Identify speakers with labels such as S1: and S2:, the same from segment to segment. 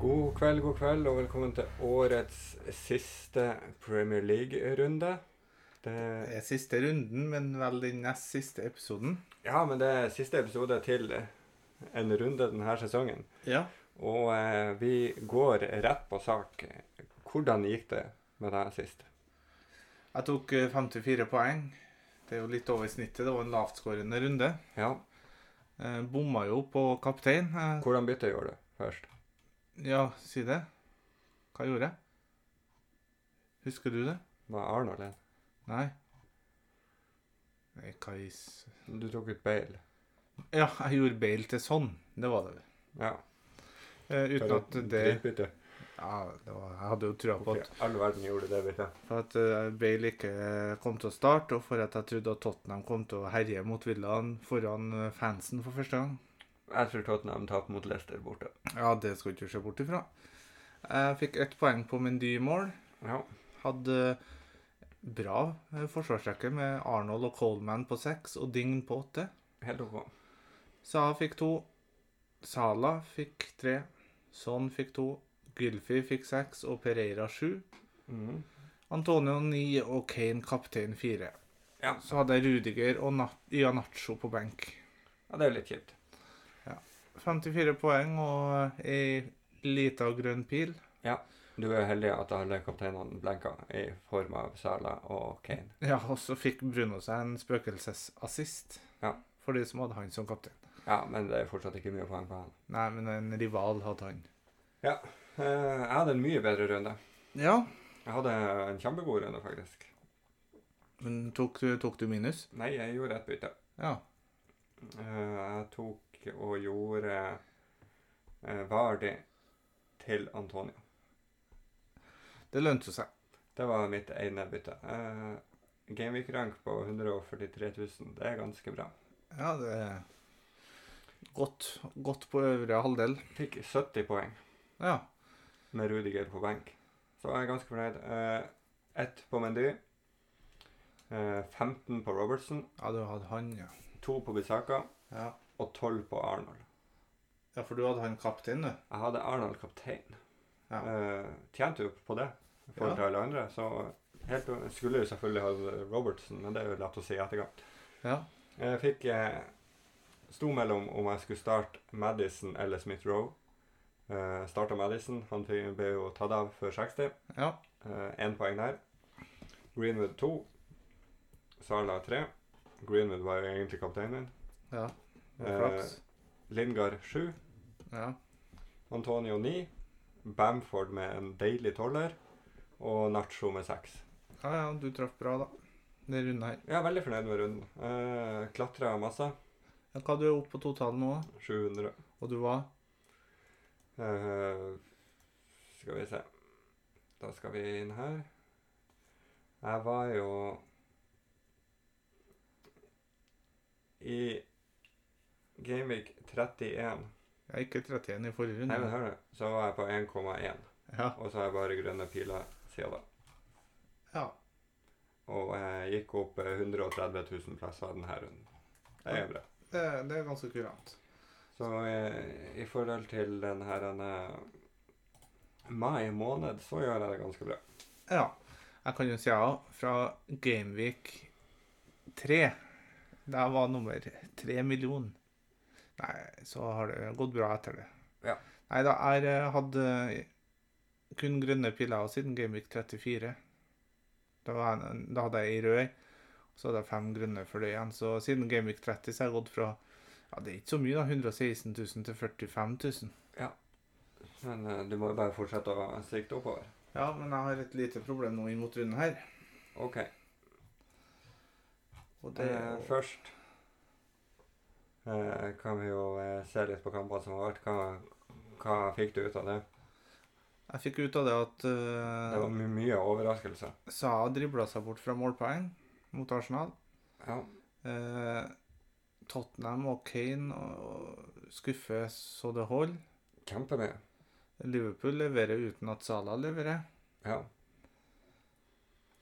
S1: God kveld, god kveld, og velkommen til årets siste Premier League-runde. Det,
S2: Det er eh, siste runden, men vel den nest siste episoden.
S1: ja, men det er siste episode til en runde denne sesongen.
S2: Ja.
S1: Og eh, vi går rett på sak. Hvordan gikk det med deg sist?
S2: Jeg tok eh, 54 poeng. Det er jo litt over snittet. Det var en lavtskårende runde.
S1: Ja,
S2: Eh, bomma jo på kaptein. Eh,
S1: hvordan bytte gjorde du først?
S2: ja, si det. Hva gjorde jeg? Husker du det?
S1: Var Arnold en?
S2: Nei. Nei, hva i s-
S1: Du tok ut Bale.
S2: Ja, jeg gjorde Bale til sånn. Det var det.
S1: Ja.
S2: Eh, uten at det
S1: Drittbytte.
S2: Ja, det var, jeg hadde jo trua på
S1: Hvorfor
S2: at
S1: i all verden gjorde du det byttet?
S2: For at eh, Bale ikke kom til å starte, og for at jeg trodde at Tottenham kom til å herje mot Villaen foran eh, fansen for første gang.
S1: Jeg tror Tottenham tapte mot Leicester borte.
S2: Ja, det skal du ikke se bort ifra. Jeg fikk ett poeng på Mendy i mål.
S1: Ja.
S2: Hadde eh, bra eh, forsvarsrekke med Arnold og Coleman på seks og Dign på åtte.
S1: Helt ok.
S2: Saha fikk to. Sala fikk tre. Son fikk to. Gylfi fikk seks og Pereira sju.
S1: Mhm.
S2: Antonio 9 og Kane kaptein 4.
S1: Ja.
S2: Så hadde jeg Rudiger og Nat Ianacho på benk.
S1: Ja, det er jo litt kjipt.
S2: 54 poeng og ei lita grønn pil.
S1: Du er heldig at alle kapteinene blenka i form av Sala og Kane.
S2: Ja, og så fikk Bruno seg en spøkelsesassist.
S1: Ja.
S2: For de som hadde han som kaptein.
S1: Ja, men det er fortsatt ikke mye poeng på han.
S2: Nei, men en rival hadde han.
S1: Eh, Jeg hadde en mye bedre runde.
S2: Ja.
S1: Jeg hadde en kjempegod runde, faktisk.
S2: Men tok, tok du minus?
S1: Nei, jeg gjorde et bytte.
S2: Ja.
S1: Eh, Jeg tok og gjorde eh, Vardy til Antonio.
S2: Det lønte seg.
S1: Det var mitt ene bytte. Eh, Gameweek-rank på 143 000. Det er ganske bra.
S2: Ja, det er Godt, godt på øvre halvdel.
S1: Fikk 70 poeng.
S2: Ja.
S1: med Rudiger på benk. Så jeg er ganske fornøyd. Eh, ett på Mendy. Eh, 15 på Robertson.
S2: ja, du hadde han, ja.
S1: To på Bisaka.
S2: ja.
S1: Og 12 på Arnold.
S2: Ja, for du hadde han kaptein, du.
S1: Jeg hadde Arnold kaptein.
S2: Ja.
S1: Eh, tjente jo på det i forhold til alle andre. Så helt, skulle jo selvfølgelig ha Robertson, men det er jo lett å si i etterkant.
S2: Ja.
S1: Jeg fikk eh, Sto mellom om jeg skulle starte Madison eller Smith Roe. Eh, Starta Madison. Han fikk- ble jo tatt av før 60.
S2: Ja.
S1: Én poeng der. Greenwood 2. Sala 3. Greenwood var jo egentlig kapteinen.
S2: Ja. det var
S1: Eh,
S2: Flaks.
S1: Lingard 7.
S2: Ja.
S1: Antonio 9. Bamford med en deilig toller. Og Nacho med 6.
S2: ja, ja, du traff bra, da. Det runde her.
S1: Jeg er veldig fornøyd med runden. Uh, Klatra masse.
S2: Ja, hva du er oppe på totalen nå, da?
S1: 700.
S2: og du var
S1: Eh, skal vi se Da skal vi inn her. Jeg var jo I Gameweek 31
S2: ja, ikke 31 i forrige
S1: Nei,
S2: runde.
S1: men hør nå. Så var jeg på 1,1.
S2: ja.
S1: Og så har jeg bare grønne piler siden da.
S2: ja.
S1: Og jeg gikk opp eh, 130 000 plasser denne runden. Det er bra.
S2: Det, det er ganske kurant.
S1: Så eh, i forhold til den her denne mai måned, så gjør jeg det ganske bra.
S2: Ja. Jeg kan jo si ja, fra Gameweek 3. Der var nummer 3 million. Nei, så har det gått bra etter det.
S1: Ja.
S2: Nei da, jeg eh, hadde kun grønne piller siden Gameweek 34. Da, var jeg, da hadde jeg ei rød, så hadde jeg fem grønne for det igjen. Så siden Gameweek 30 så har jeg gått fra ja, det er ikke så mye, da. 116 000 til 45 000.
S1: Men eh, du må jo bare fortsette å sikte oppover.
S2: Ja, men jeg har et lite problem nå inn mot runden her.
S1: OK.
S2: Og det,
S1: Eh, først eh, kan vi jo eh, se litt på kampene som har vært. Hva, hva fikk du ut av det?
S2: Jeg fikk ut av det at eh,
S1: Det var my mye overraskelse.
S2: Saha dribla seg bort fra målpoeng mot Arsenal.
S1: Ja.
S2: Eh, Tottenham og Kane og skuffer så det holder.
S1: Kjempemye.
S2: Liverpool leverer uten at Salah leverer.
S1: Ja.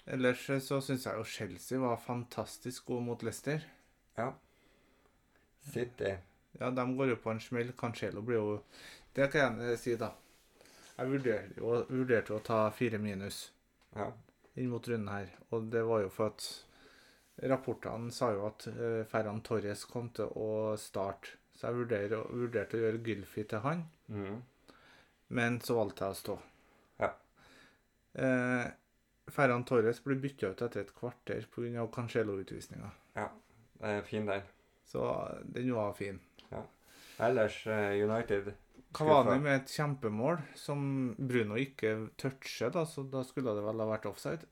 S2: Ellers så syns jeg jo Chelsea var fantastisk gode mot Leicester.
S1: City.
S2: Ja, de går jo på en smell. Cancelo blir jo Det kan jeg gjerne si, da. Jeg vurderte, jo- vurderte å ta fire minus
S1: Ja.
S2: inn mot runden her, og det var jo for at rapportene sa jo at eh, Ferran Torres kom til å starte, så jeg vurderer, å- vurderte å gjøre Gylfi til han,
S1: Mhm.
S2: men så valgte jeg å stå.
S1: Ja.
S2: Eh, Ferran Torres ble bytta ut etter et kvarter pga. Cancelo-utvisninga,
S1: Det er fin den.
S2: så den var fin.
S1: Ellers eh, United
S2: Kavani med et kjempemål som Bruno ikke toucher, da, så da skulle det vel ha vært offside.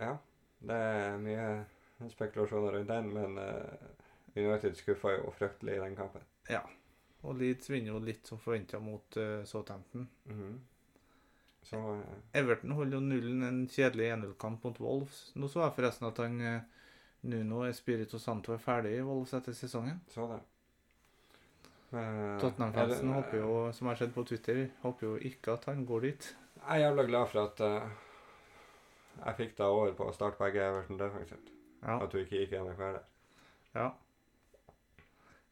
S1: Ja, det er mye spekulasjoner rundt den, men eh, United skuffa jo fryktelig i den kampen.
S2: Og Leeds vinner jo litt som forventa mot eh, Southampton.
S1: Mhm. Så eh,
S2: Everton holder jo nullen en kjedelig 1-0-kamp mot Wolves. Nå så jeg forresten at han eh, Nuno Espirito Santo er ferdig i Wolves etter sesongen.
S1: så det. Eh, er
S2: Tottenham-fansen
S1: det-
S2: håper jo, som jeg har sett på Twitter, håper jo ikke at han går dit.
S1: Jeg er jævla glad for at eh, jeg fikk deg over på å starte begge Everton defensivt.
S2: Ja.
S1: At du ikke gikk gjennom hver der.
S2: ja.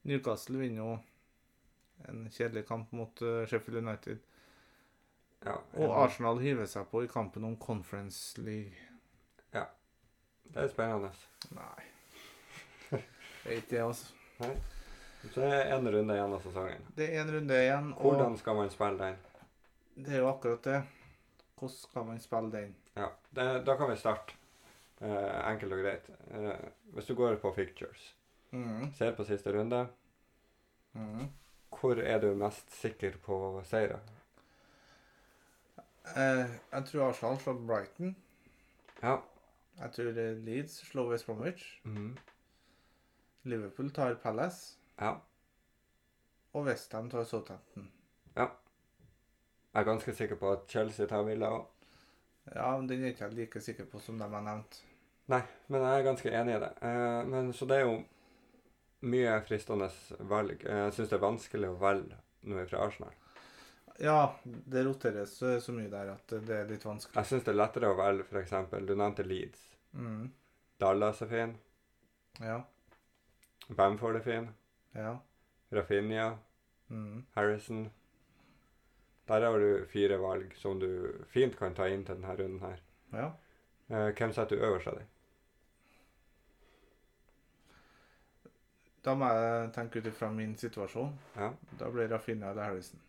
S2: Newcastle vinner jo en kjedelig kamp mot eh, Sheffield United.
S1: Ja,
S2: Og
S1: ja,
S2: Arsenal hiver seg på i kampen om Conference League.
S1: Det er spennende.
S2: Nei. Vet jeg, altså.
S1: Så det er én runde igjen av sesongen.
S2: Det er en runde igjen, og
S1: Hvordan skal man spille den?
S2: det er jo akkurat det. Hvordan skal man spille den?
S1: Ja, det, Da kan vi starte. eh, enkelt og greit. Eh, hvis du går på fictures,
S2: Mm.
S1: ser på siste runde,
S2: Mm.
S1: hvor er du mest sikker på seire?
S2: Eh, jeg tror Arsenal slår Brighton.
S1: Ja. mm,
S2: Jeg tror eh, Leeds slår West Bromwich. Liverpool tar Palace.
S1: Ja.
S2: Og Westham tar Southampton.
S1: Jeg er ganske sikker på at Chelsea tar Villa òg.
S2: Ja, men den er ikke jeg like sikker på som de har nevnt.
S1: Nei, men jeg er ganske enig i det. Eh, men Så det er jo mye fristende valg. Eh, Jeg syns det er vanskelig å velge noe fra Arsenal.
S2: Ja, det roteres eh, så mye der at det er litt vanskelig.
S1: Jeg syns det er lettere å velge f.eks. Du nevnte Leeds.
S2: Mm.
S1: Dallas er fin.
S2: Ja.
S1: Bamford er fin.
S2: Ja.
S1: Rafinha.
S2: Mm.
S1: Harrison. Der har du fire valg som du fint kan ta inn til denne runden her.
S2: Ja.
S1: Eh, hvem setter du øverst av dem?
S2: Da må jeg tenke ut ifra min situasjon.
S1: Ja.
S2: Da blir Rafinha eller Harrison.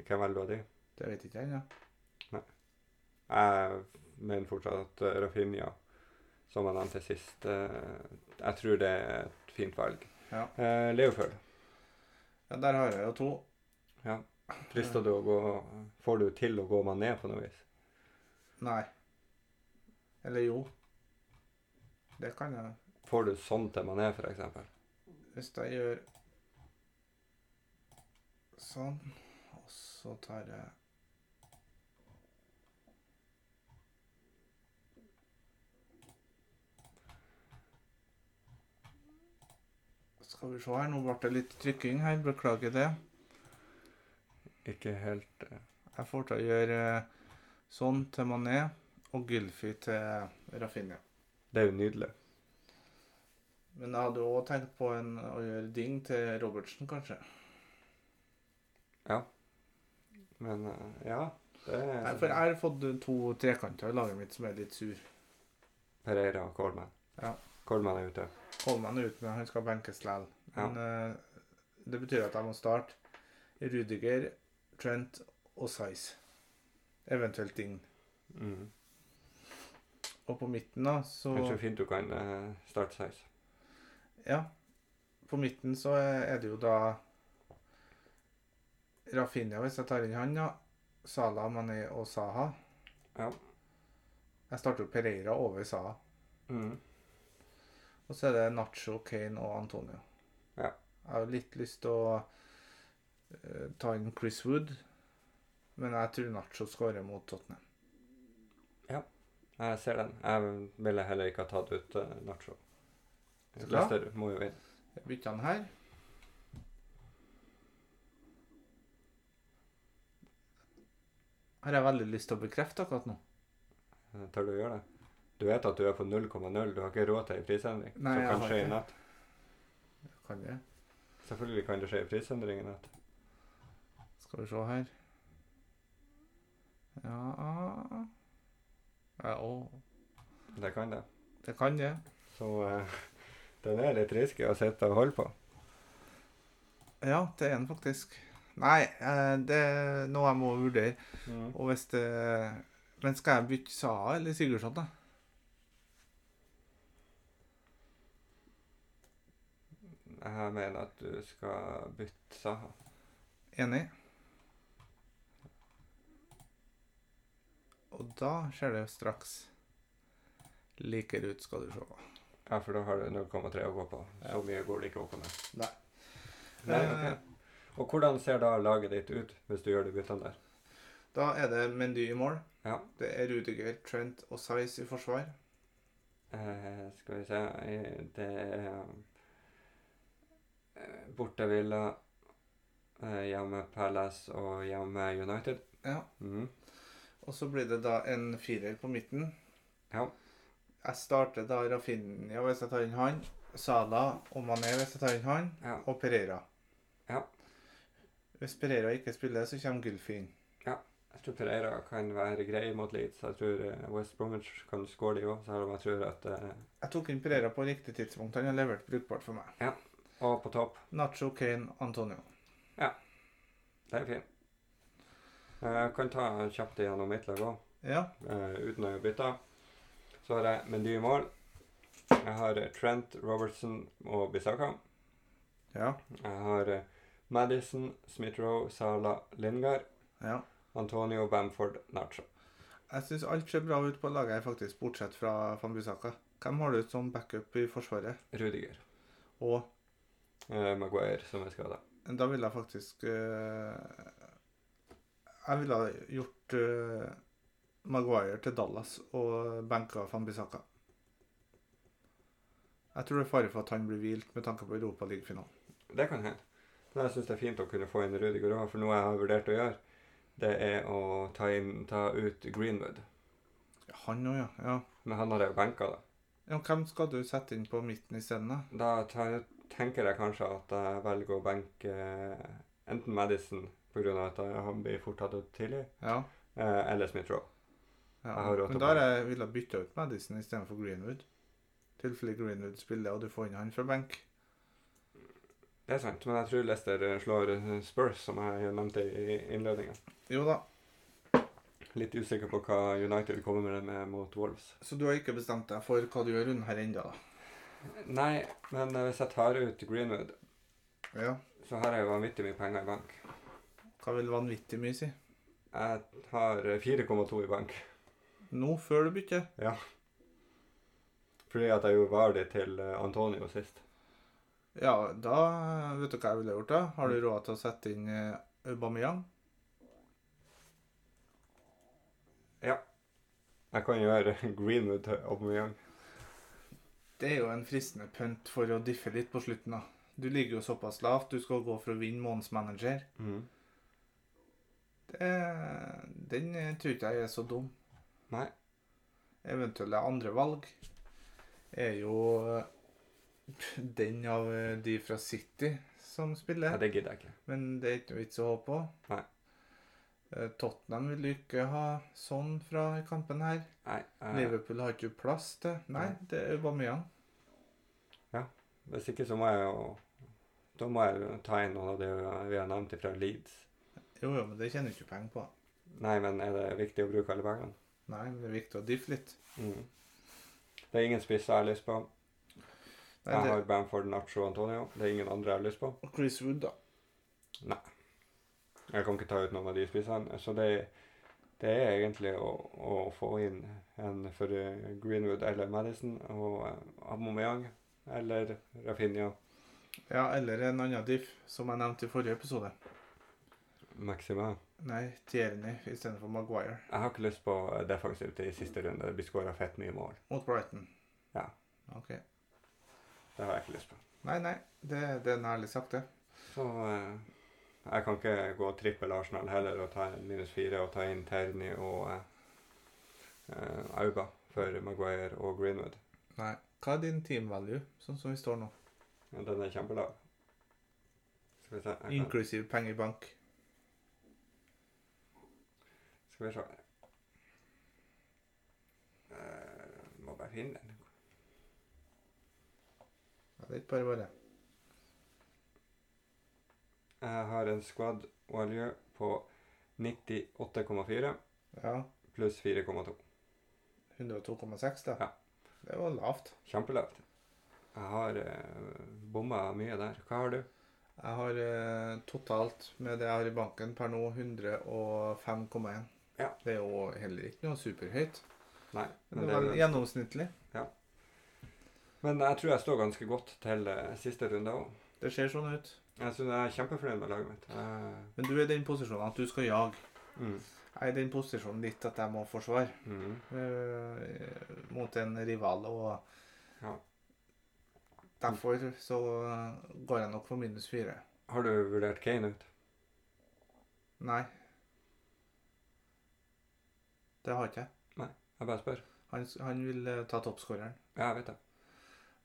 S1: Hvem velger du av dem?
S2: Det vet ikke jeg ennå.
S1: Jeg mener fortsatt at eh, Rafinha, som jeg nevnte sist, eh, jeg tror det er et fint valg.
S2: Ja.
S1: Eh, Leopold,
S2: Ja, der har jeg jo to.
S1: frister du å gå Får du til å gå meg ned på noe vis?
S2: Nei. Eller jo. Det kan jeg.
S1: Får du sånn til meg ned, f.eks.?
S2: Hvis jeg gjør sånn, og så tar jeg Skal vi se her, nå ble det litt trykking her. Beklager det.
S1: Ikke helt eh,
S2: Jeg får til å gjøre eh, sånn til Mané og Gylfi til Rafinha.
S1: Det er jo nydelig.
S2: Men jeg hadde òg tenkt på en, å gjøre ding til Robertsen, kanskje.
S1: Men eh, ja, det
S2: Nei,
S1: er
S2: for jeg har fått to trekanter i laget mitt som er litt sur.
S1: Pereira og Coleman.
S2: Ja.
S1: Coleman er ute.
S2: Holman er ute, men han skal benkes likevel.
S1: Ja.
S2: Men eh, det betyr at jeg må starte Rudiger, Trent og Size. Eventuelt ding.
S1: Mm.
S2: Og på midten, da, så
S1: Kanskje fint du kan eh, starte size.
S2: Ja. På midten så er det jo da Rafinha, hvis jeg tar inn han, ja. Salah, Mané og Saha.
S1: Ja.
S2: Jeg starter jo Pereira over Saha.
S1: Mm.
S2: Og så er det Nacho, Kane og Antonio.
S1: Ja.
S2: Jeg har jo litt lyst til å eh, ta inn Chris Wood, men jeg tror Nacho skårer mot Tottenham.
S1: Jeg ser den. Jeg ville heller ikke ha tatt ut uh, Nacho.
S2: Så bra.
S1: Leicester må jo vinne.
S2: Jeg bytter han her. Har jeg veldig lyst til å bekrefte akkurat nå.
S1: Eh, Tør du å gjøre det? Du vet at du er på 0,0. Du har ikke råd til en prisendring.
S2: Nei,
S1: som
S2: jeg
S1: kan
S2: har
S1: skje i
S2: ikke.
S1: natt.
S2: Kan jeg?
S1: Selvfølgelig kan det skje en prisendring i natt.
S2: Skal vi se her. Ja ja, å,
S1: Det kan det.
S2: Det kan det.
S1: Så eh, den er litt risky å sitte og holde på.
S2: Ja, det er den faktisk. Nei, eh, det er noe jeg må vurdere. Og hvis det Men skal jeg bytte Saha eller Sigurdsson, da?
S1: Jeg mener at du skal bytte Saha.
S2: Enig? Og da ser det straks likere ut, skal du se.
S1: Ja, for da har du 0,3 å gå på. Så mye går det ikke opp med.
S2: Nei.
S1: Nei,
S2: Eh,
S1: ok. Og hvordan ser da laget ditt ut, hvis du gjør de byttene der?
S2: Da er det Mendy i mål.
S1: Ja.
S2: Det er Rudiger, Trent og Size i forsvar.
S1: Eh, skal vi se eh, Det er eh, borte Villa, eh, hjemme Palace og hjemme United.
S2: Ja.
S1: Mhm.
S2: Og så blir det da en firer på midten.
S1: Ja.
S2: Jeg starter da Rafinha hvis jeg tar inn han. Sala og Mané hvis jeg tar inn han.
S1: Ja.
S2: Og Pereira.
S1: Ja.
S2: Hvis Pereira ikke spiller, så kommer Gylfi inn.
S1: Jeg tror Pereira kan være grei mot Leeds. Jeg tror eh, West Bromwich kan skåre de òg, selv om jeg tror at eh,
S2: Jeg tok inn Pereira på riktig tidspunkt. Han har levert brukbart for meg.
S1: Og på topp
S2: Nacho, Kane, Antonio.
S1: Det er fint. Eh, Jeg kan ta kjapt igjennom mitt lag òg,
S2: Ja.
S1: uten å bytte. Så har jeg Mendy i mål. Jeg har eh, Trent, Robertson og Bisaka.
S2: Ja.
S1: Jeg har eh, Madison, Smith-Roe, Sala, Lingard,
S2: ja.
S1: Antonio, Bamford, Nacho.
S2: Jeg syns alt ser bra ut på laget her, faktisk, bortsett fra Van Bissaka. Hvem har du som backup i forsvaret?
S1: Rudiger.
S2: Og
S1: eh, Maguire, som er skada.
S2: Da ville jeg faktisk eh, Jeg ville ha gjort eh, Maguire til Dallas og benka van Bissaka. Jeg tror det er fare for at han blir hvilt med tanke på Europaligafinalen.
S1: Det kan hende. Men jeg syns det er fint å kunne få inn Rudiger òg, for noe jeg har vurdert å gjøre, det er å ta, inn, ta ut Greenwood.
S2: Han òg, ja. ja.
S1: Men han har jeg benka, da.
S2: Ja, Hvem skal du sette inn på midten isteden, da?
S1: Da tar- tenker jeg kanskje at jeg velger å benke eh, enten Madison pga. at jeg- han blir fort tatt ut tidlig,
S2: Ja.
S1: eh, eller Smith Roe.
S2: ja.
S1: Jeg har råd til
S2: Men
S1: å
S2: da har jeg ville jeg bytte ut Madison istedenfor Greenwood. I tilfelle Greenwood spiller og du får inn han fra benk.
S1: Det er sant, men jeg tror Leicester eh, slår eh, Spurs, som jeg nevnte i innledningen.
S2: Jo da,
S1: Litt usikker på hva United kommer med mot Wolves.
S2: så du har ikke bestemt deg for hva du gjør rundt her ennå, da?
S1: Nei, men eh, hvis jeg tar ut Greenwood,
S2: Ja.
S1: så har jeg jo vanvittig mye penger i bank.
S2: Hva vil vanvittig mye si?
S1: Jeg har eh, 4,2 i bank.
S2: Nå før du bytter?
S1: Fordi at jeg gjorde Vardy til eh, Antonio sist.
S2: Ja, da vet du hva jeg ville gjort da. Har du råd til å sette inn eh, Aubameyang?
S1: Jeg kan gjøre Greenwood til Aubameyang.
S2: Det er jo en fristende pønt for å diffe litt på slutten da. Du ligger jo såpass lavt, du skal gå for å vinne månedens manager.
S1: Mm.
S2: Det, den eh, tror ikke jeg er så dum.
S1: Nei.
S2: Eventuelle andre valg er jo eh, den av eh, de fra City som
S1: Ja,
S2: spiller.
S1: det gidder jeg ikke.
S2: Men det er ikke noe vits å håpe på.
S1: Nei.
S2: Eh, Tottenham vil jo ikke ha sånn fra kampen her.
S1: Nei. Jeg,
S2: Liverpool har ikke plass til Nei,
S1: Nei.
S2: det er Aubameyang.
S1: hvis ikke så må jeg jo Da må jeg jo ta inn noe av det vi har nevnt fra Leeds.
S2: Jo, jo, men det tjener du ikke penger på.
S1: Nei, men er det viktig å bruke alle pengene?
S2: Nei, men det er viktig å diffe litt.
S1: Mm. Det er ingen spisser jeg har lyst på.
S2: Nei,
S1: Jeg
S2: det
S1: har Bamford, Nacho og Antonio. Det er ingen andre jeg har lyst på.
S2: er Chris Wood, da.
S1: Jeg kan ikke ta ut noen av de spissene. Så det, det er egentlig å, å få inn en for eh, Greenwood eller Madison og eh, Aubameyang eller Rafinha
S2: Ja, eller en annen diff, som jeg nevnte i forrige episode.
S1: Maxima.
S2: Nei, Tierney istedenfor Maguire
S1: Jeg har ikke lyst på eh, defensivt i siste runde. Det blir skåra fett mye mål.
S2: mot Brighton.
S1: Ja.
S2: OK.
S1: Det har jeg ikke lyst på.
S2: Nei, nei, det, det er en ærlig sagt, det.
S1: Så eh, jeg kan ikke gå trippel Arsenal heller og ta en minus fire og ta inn Terni og eh, eh, Auba for Maguire og Greenwood.
S2: Nei. Hva er din team value, sånn som vi står nå?
S1: Ja, Den er kjempelav. Skal vi se jeg kan,
S2: Inklusiv penger i bank.
S1: Skal vi se Eh, Må bare finne den.
S2: Ja, det er ikke bare bare.
S1: Jeg har en squad olje på 98,4
S2: Ja.
S1: pluss 4,2.
S2: 102,6, da.
S1: Ja.
S2: Det var lavt.
S1: Kjempelavt. Jeg har eh, bomma mye der. Hva har du?
S2: Jeg har eh, totalt, med det jeg har i banken per nå, 105,1.
S1: Ja.
S2: Det er jo heller ikke noe superhøyt.
S1: Nei.
S2: Men det
S1: det er
S2: var
S1: vel-
S2: gjennomsnittlig.
S1: men jeg tror jeg står ganske godt til eh, siste runde òg.
S2: Det ser sånn ut.
S1: Jeg synes jeg er kjempefornøyd med laget mitt. Jeg-
S2: Men du er i den posisjonen at du skal jage.
S1: mm,
S2: Jeg er i den posisjonen litt at jeg må forsvare
S1: mm.
S2: eh, mot en rival, og
S1: Ja.
S2: derfor så går jeg nok for minus fire.
S1: Har du vurdert Kane ut?
S2: Nei. Det har ikke jeg.
S1: Jeg bare spør.
S2: Han, han vil eh, ta toppskåreren.
S1: Ja, jeg vet det.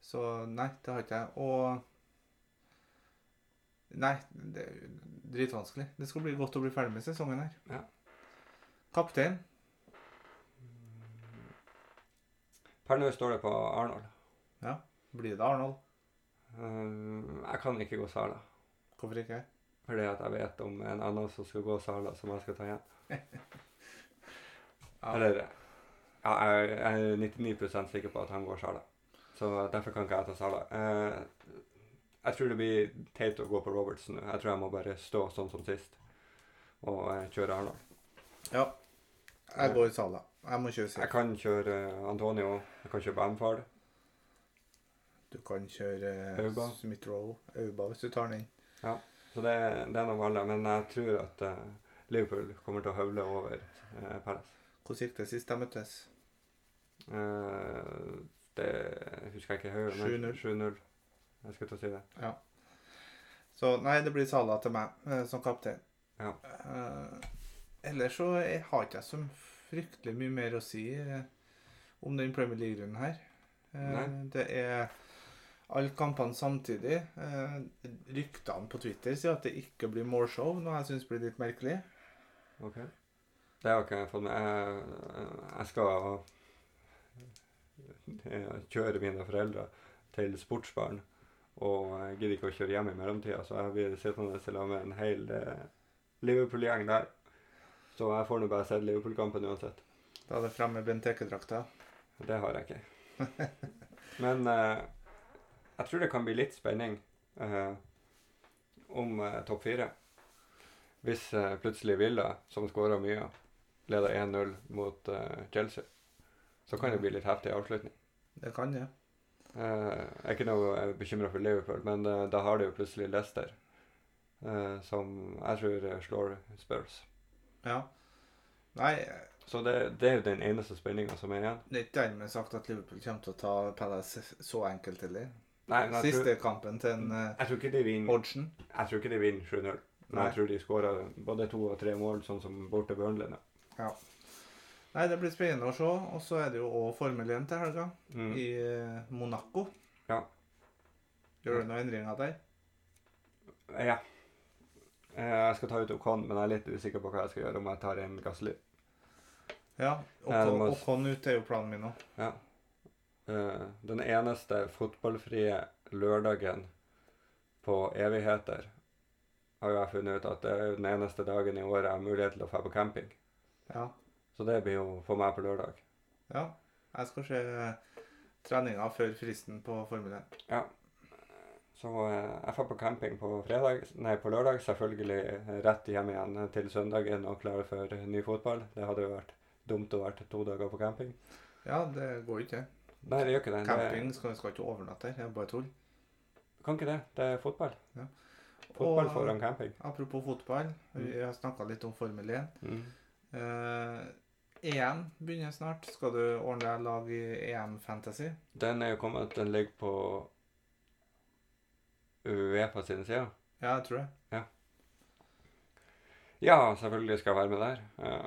S2: Så nei, det har ikke jeg. Og Nei, det er jo dritvanskelig. Det skal bli godt å bli ferdig med sesongen her.
S1: Ja.
S2: Kaptein.
S1: Per nå står det på Arnold.
S2: Blir det Arnold?
S1: Eh, jeg kan ikke gå Sala.
S2: Hvorfor ikke?
S1: Fordi at jeg vet om en annen som skal gå Sala, som jeg skal ta igjen. Eller ja, jeg jeg er 99 sikker på at han går Sala. Så derfor kan ikke jeg ta Sala. Eh, jeg tror det blir teit å gå på Robertsen nå. Jeg tror jeg må bare stå sånn som sist og eh, kjøre Arnold.
S2: Ja. Jeg går i Sala. Jeg må kjøre
S1: Jeg
S2: safe.
S1: kan kjøre eh, Antonio. Jeg kan kjøre Bamford.
S2: Du kan kjøre
S1: Auba.
S2: Smith-Roe. Auba, hvis du tar den inn.
S1: Så det, det er noe med alle. Men jeg tror at eh, Liverpool kommer til å høvle over uh, Palace.
S2: Hvordan gikk det sist de møttes?
S1: Eh, det husker jeg ikke høyere, men
S2: 7-0.
S1: 7-0. Jeg skulle til å si det.
S2: Så nei, det blir Sala til meg eh, som kaptein.
S1: Ja.
S2: Eh, ellers så jeg har ikke jeg så fryktelig mye mer å si eh, om den Premier League-runden her. Eh,
S1: Nei.
S2: det er alle kampene samtidig. Eh, ryktene på Twitter sier at det ikke blir målshow, noe jeg syns blir litt merkelig.
S1: Ok. Det har ikke jeg fått med. Jeg, jeg skal eh, kjøre mine foreldre til sportsbaren. Og jeg gidder ikke å kjøre hjem i mellomtida, så jeg blir sittende til sammen med en hel eh, Liverpool-gjeng der. Så jeg får nå bare sett Liverpool-kampen uansett.
S2: Da er det fremme Benteke-drakta.
S1: Det har jeg ikke. Men eh, jeg tror det kan bli litt spenning eh, om eh, topp fire. Hvis eh, plutselig Villa, som skårer mye, leder 1-0 mot eh, Chelsea, så kan det bli litt heftig avslutning.
S2: Det kan det.
S1: Eh, jeg er ikke noe bekymra for Liverpool, men eh, da har de jo plutselig Leicester, eh, som jeg tror eh, slår Spurs.
S2: Ja. Nei,
S1: Så det, det er jo den eneste spenninga som er igjen.
S2: det er ikke dermed sagt at Liverpool kommer til å ta Palace så enkelt heller.
S1: Nei, men jeg, tror,
S2: Siste kampen til en eh,
S1: jeg tror ikke de vinner
S2: Hodgson.
S1: Jeg tror ikke de vinner 7-0, men
S2: Nei.
S1: jeg tror de skårer både to og tre mål, sånn som borte Burnley. nå.
S2: Nei, det blir spennende å se. Og så er det jo òg Formel 1 til helga,
S1: Mm.
S2: i eh, Monaco.
S1: Ja.
S2: Gjør du noen endringer der?
S1: Ja. Eh, Jeg skal ta ut Ocon, men jeg er litt usikker på hva jeg skal gjøre om jeg tar en Gasly.
S2: Ja.
S1: Ja, det
S2: Ocon
S1: må-
S2: Ocon ut er jo planen min nå.
S1: Ja. Eh, Den eneste fotballfrie lørdagen på evigheter har jo jeg funnet ut at det er jo den eneste dagen i året jeg har mulighet til å dra på camping.
S2: Ja.
S1: Så det blir jo for meg på lørdag.
S2: ja. Jeg skal se treninga før fristen på Formel 1.
S1: Så eh, jeg drar på camping på, fredag, nei, på lørdag, selvfølgelig eh, rett hjem igjen til søndagen og klar for eh, ny fotball. Det hadde jo vært dumt å være to dager på camping.
S2: Ja, det går jo ikke.
S1: Nei, det gjør ikke det.
S2: Camping skal, skal ikke overnatte her. Det er bare tull.
S1: det kan ikke det. Det er fotball.
S2: Ja.
S1: Fotball
S2: Og-
S1: foran camping.
S2: Apropos fotball. Vi har snakka litt om Formel 1.
S1: Mm.
S2: Eh, EM begynner snart. Skal du ordne deg lag i EM Fantasy?
S1: Den er jo kommet, den ligger på E Uefa sine sider.
S2: Ja, jeg tror det.
S1: Ja, selvfølgelig skal jeg være med der. Ja.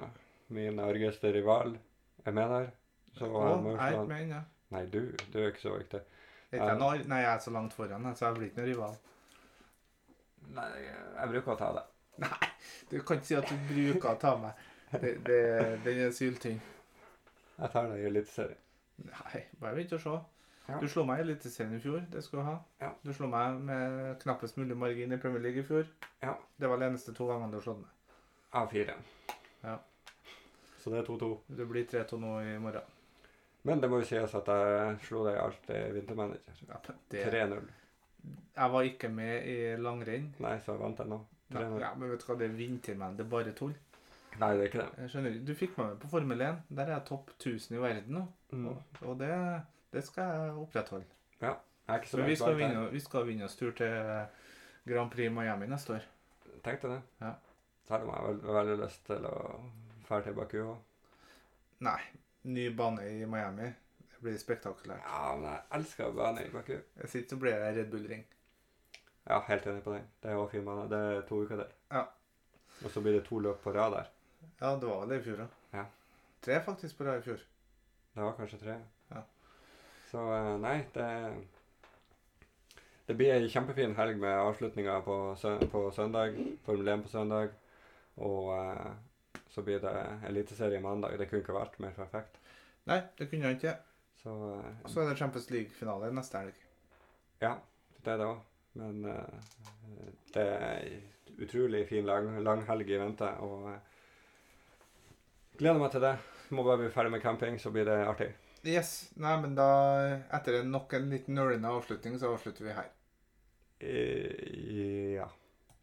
S1: Min argeste rival er med der. Så jeg
S2: Å,
S1: må jo
S2: jeg
S1: slå
S2: er ikke
S1: han.
S2: med ennå.
S1: Nei, du, du er ikke så viktig.
S2: Ikke jeg noe- Nei, jeg er så langt foran, jeg, så jeg blir ikke noen rival.
S1: Nei, jeg bruker å ta det.
S2: Du kan ikke si at du bruker å ta meg. Det, det, den er syltynn.
S1: Jeg tar det i eliteserien.
S2: Nei, bare vent og se.
S1: Ja.
S2: Du slo meg i Eliteserien i fjor. Det skal du ha.
S1: Ja.
S2: Du slo meg med knappest mulig margin i Premier League i fjor.
S1: Ja.
S2: Det var de eneste to gangene du har slått meg.
S1: Av fire.
S2: Ja.
S1: Så det er 2-2.
S2: Det blir 3-2 nå i morgen.
S1: Men det må jo sies at jeg slo deg i alt i vintermanager.
S2: Ja, det,
S1: 3-0.
S2: jeg var ikke med i langrenn.
S1: Nei, så vant jeg nå.
S2: Nei,
S1: 3-0.
S2: Ja, men vet du hva, det er vintermenn. Det er bare tull.
S1: Nei, det er ikke det.
S2: Jeg skjønner ikke. Du fikk meg med på Formel 1. Der er jeg topp 1000 i verden nå.
S1: Mm.
S2: Og, og det, det skal jeg opprettholde.
S1: Jeg er ikke så
S2: Men vi
S1: langt
S2: skal,
S1: bak
S2: vinne,
S1: der.
S2: vi skal vinne oss tur til Grand Prix Miami neste år.
S1: Tenkte det.
S2: Ja.
S1: Selv om jeg har veldig, veldig lyst til å dra til Baku òg.
S2: Nei. Ny bane i Miami. Det blir spektakulært.
S1: Ja, men jeg elsker banen i Baku.
S2: Jeg sitter og blir Red Bull-ring.
S1: Ja, helt enig på den. Det er også fin bane. Det er to uker der.
S2: Ja.
S1: Og så blir det to løp på rad der.
S2: Ja, det var vel det i fjor, da.
S1: Ja.
S2: Tre faktisk på rad i fjor.
S1: Det var kanskje tre.
S2: Ja.
S1: Så eh, nei, det Det blir ei kjempefin helg med avslutninga på, sø- på søndag. Formel 1 på søndag. Og eh, så blir det eliteserie mandag. Det kunne ikke vært mer perfekt.
S2: Nei, det kunne jeg ikke.
S1: Så eh,
S2: Og så er det Champions League-finale neste helg.
S1: det er det òg. Men eh, det er ei utrolig fin lang, langhelg i vente. Og eh, gleder meg til det. Må bare bli ferdig med camping, så blir det artig.
S2: Yes. Nei, men da, etter en- nok en liten nølende avslutning, så avslutter vi her.
S1: Eh, ja.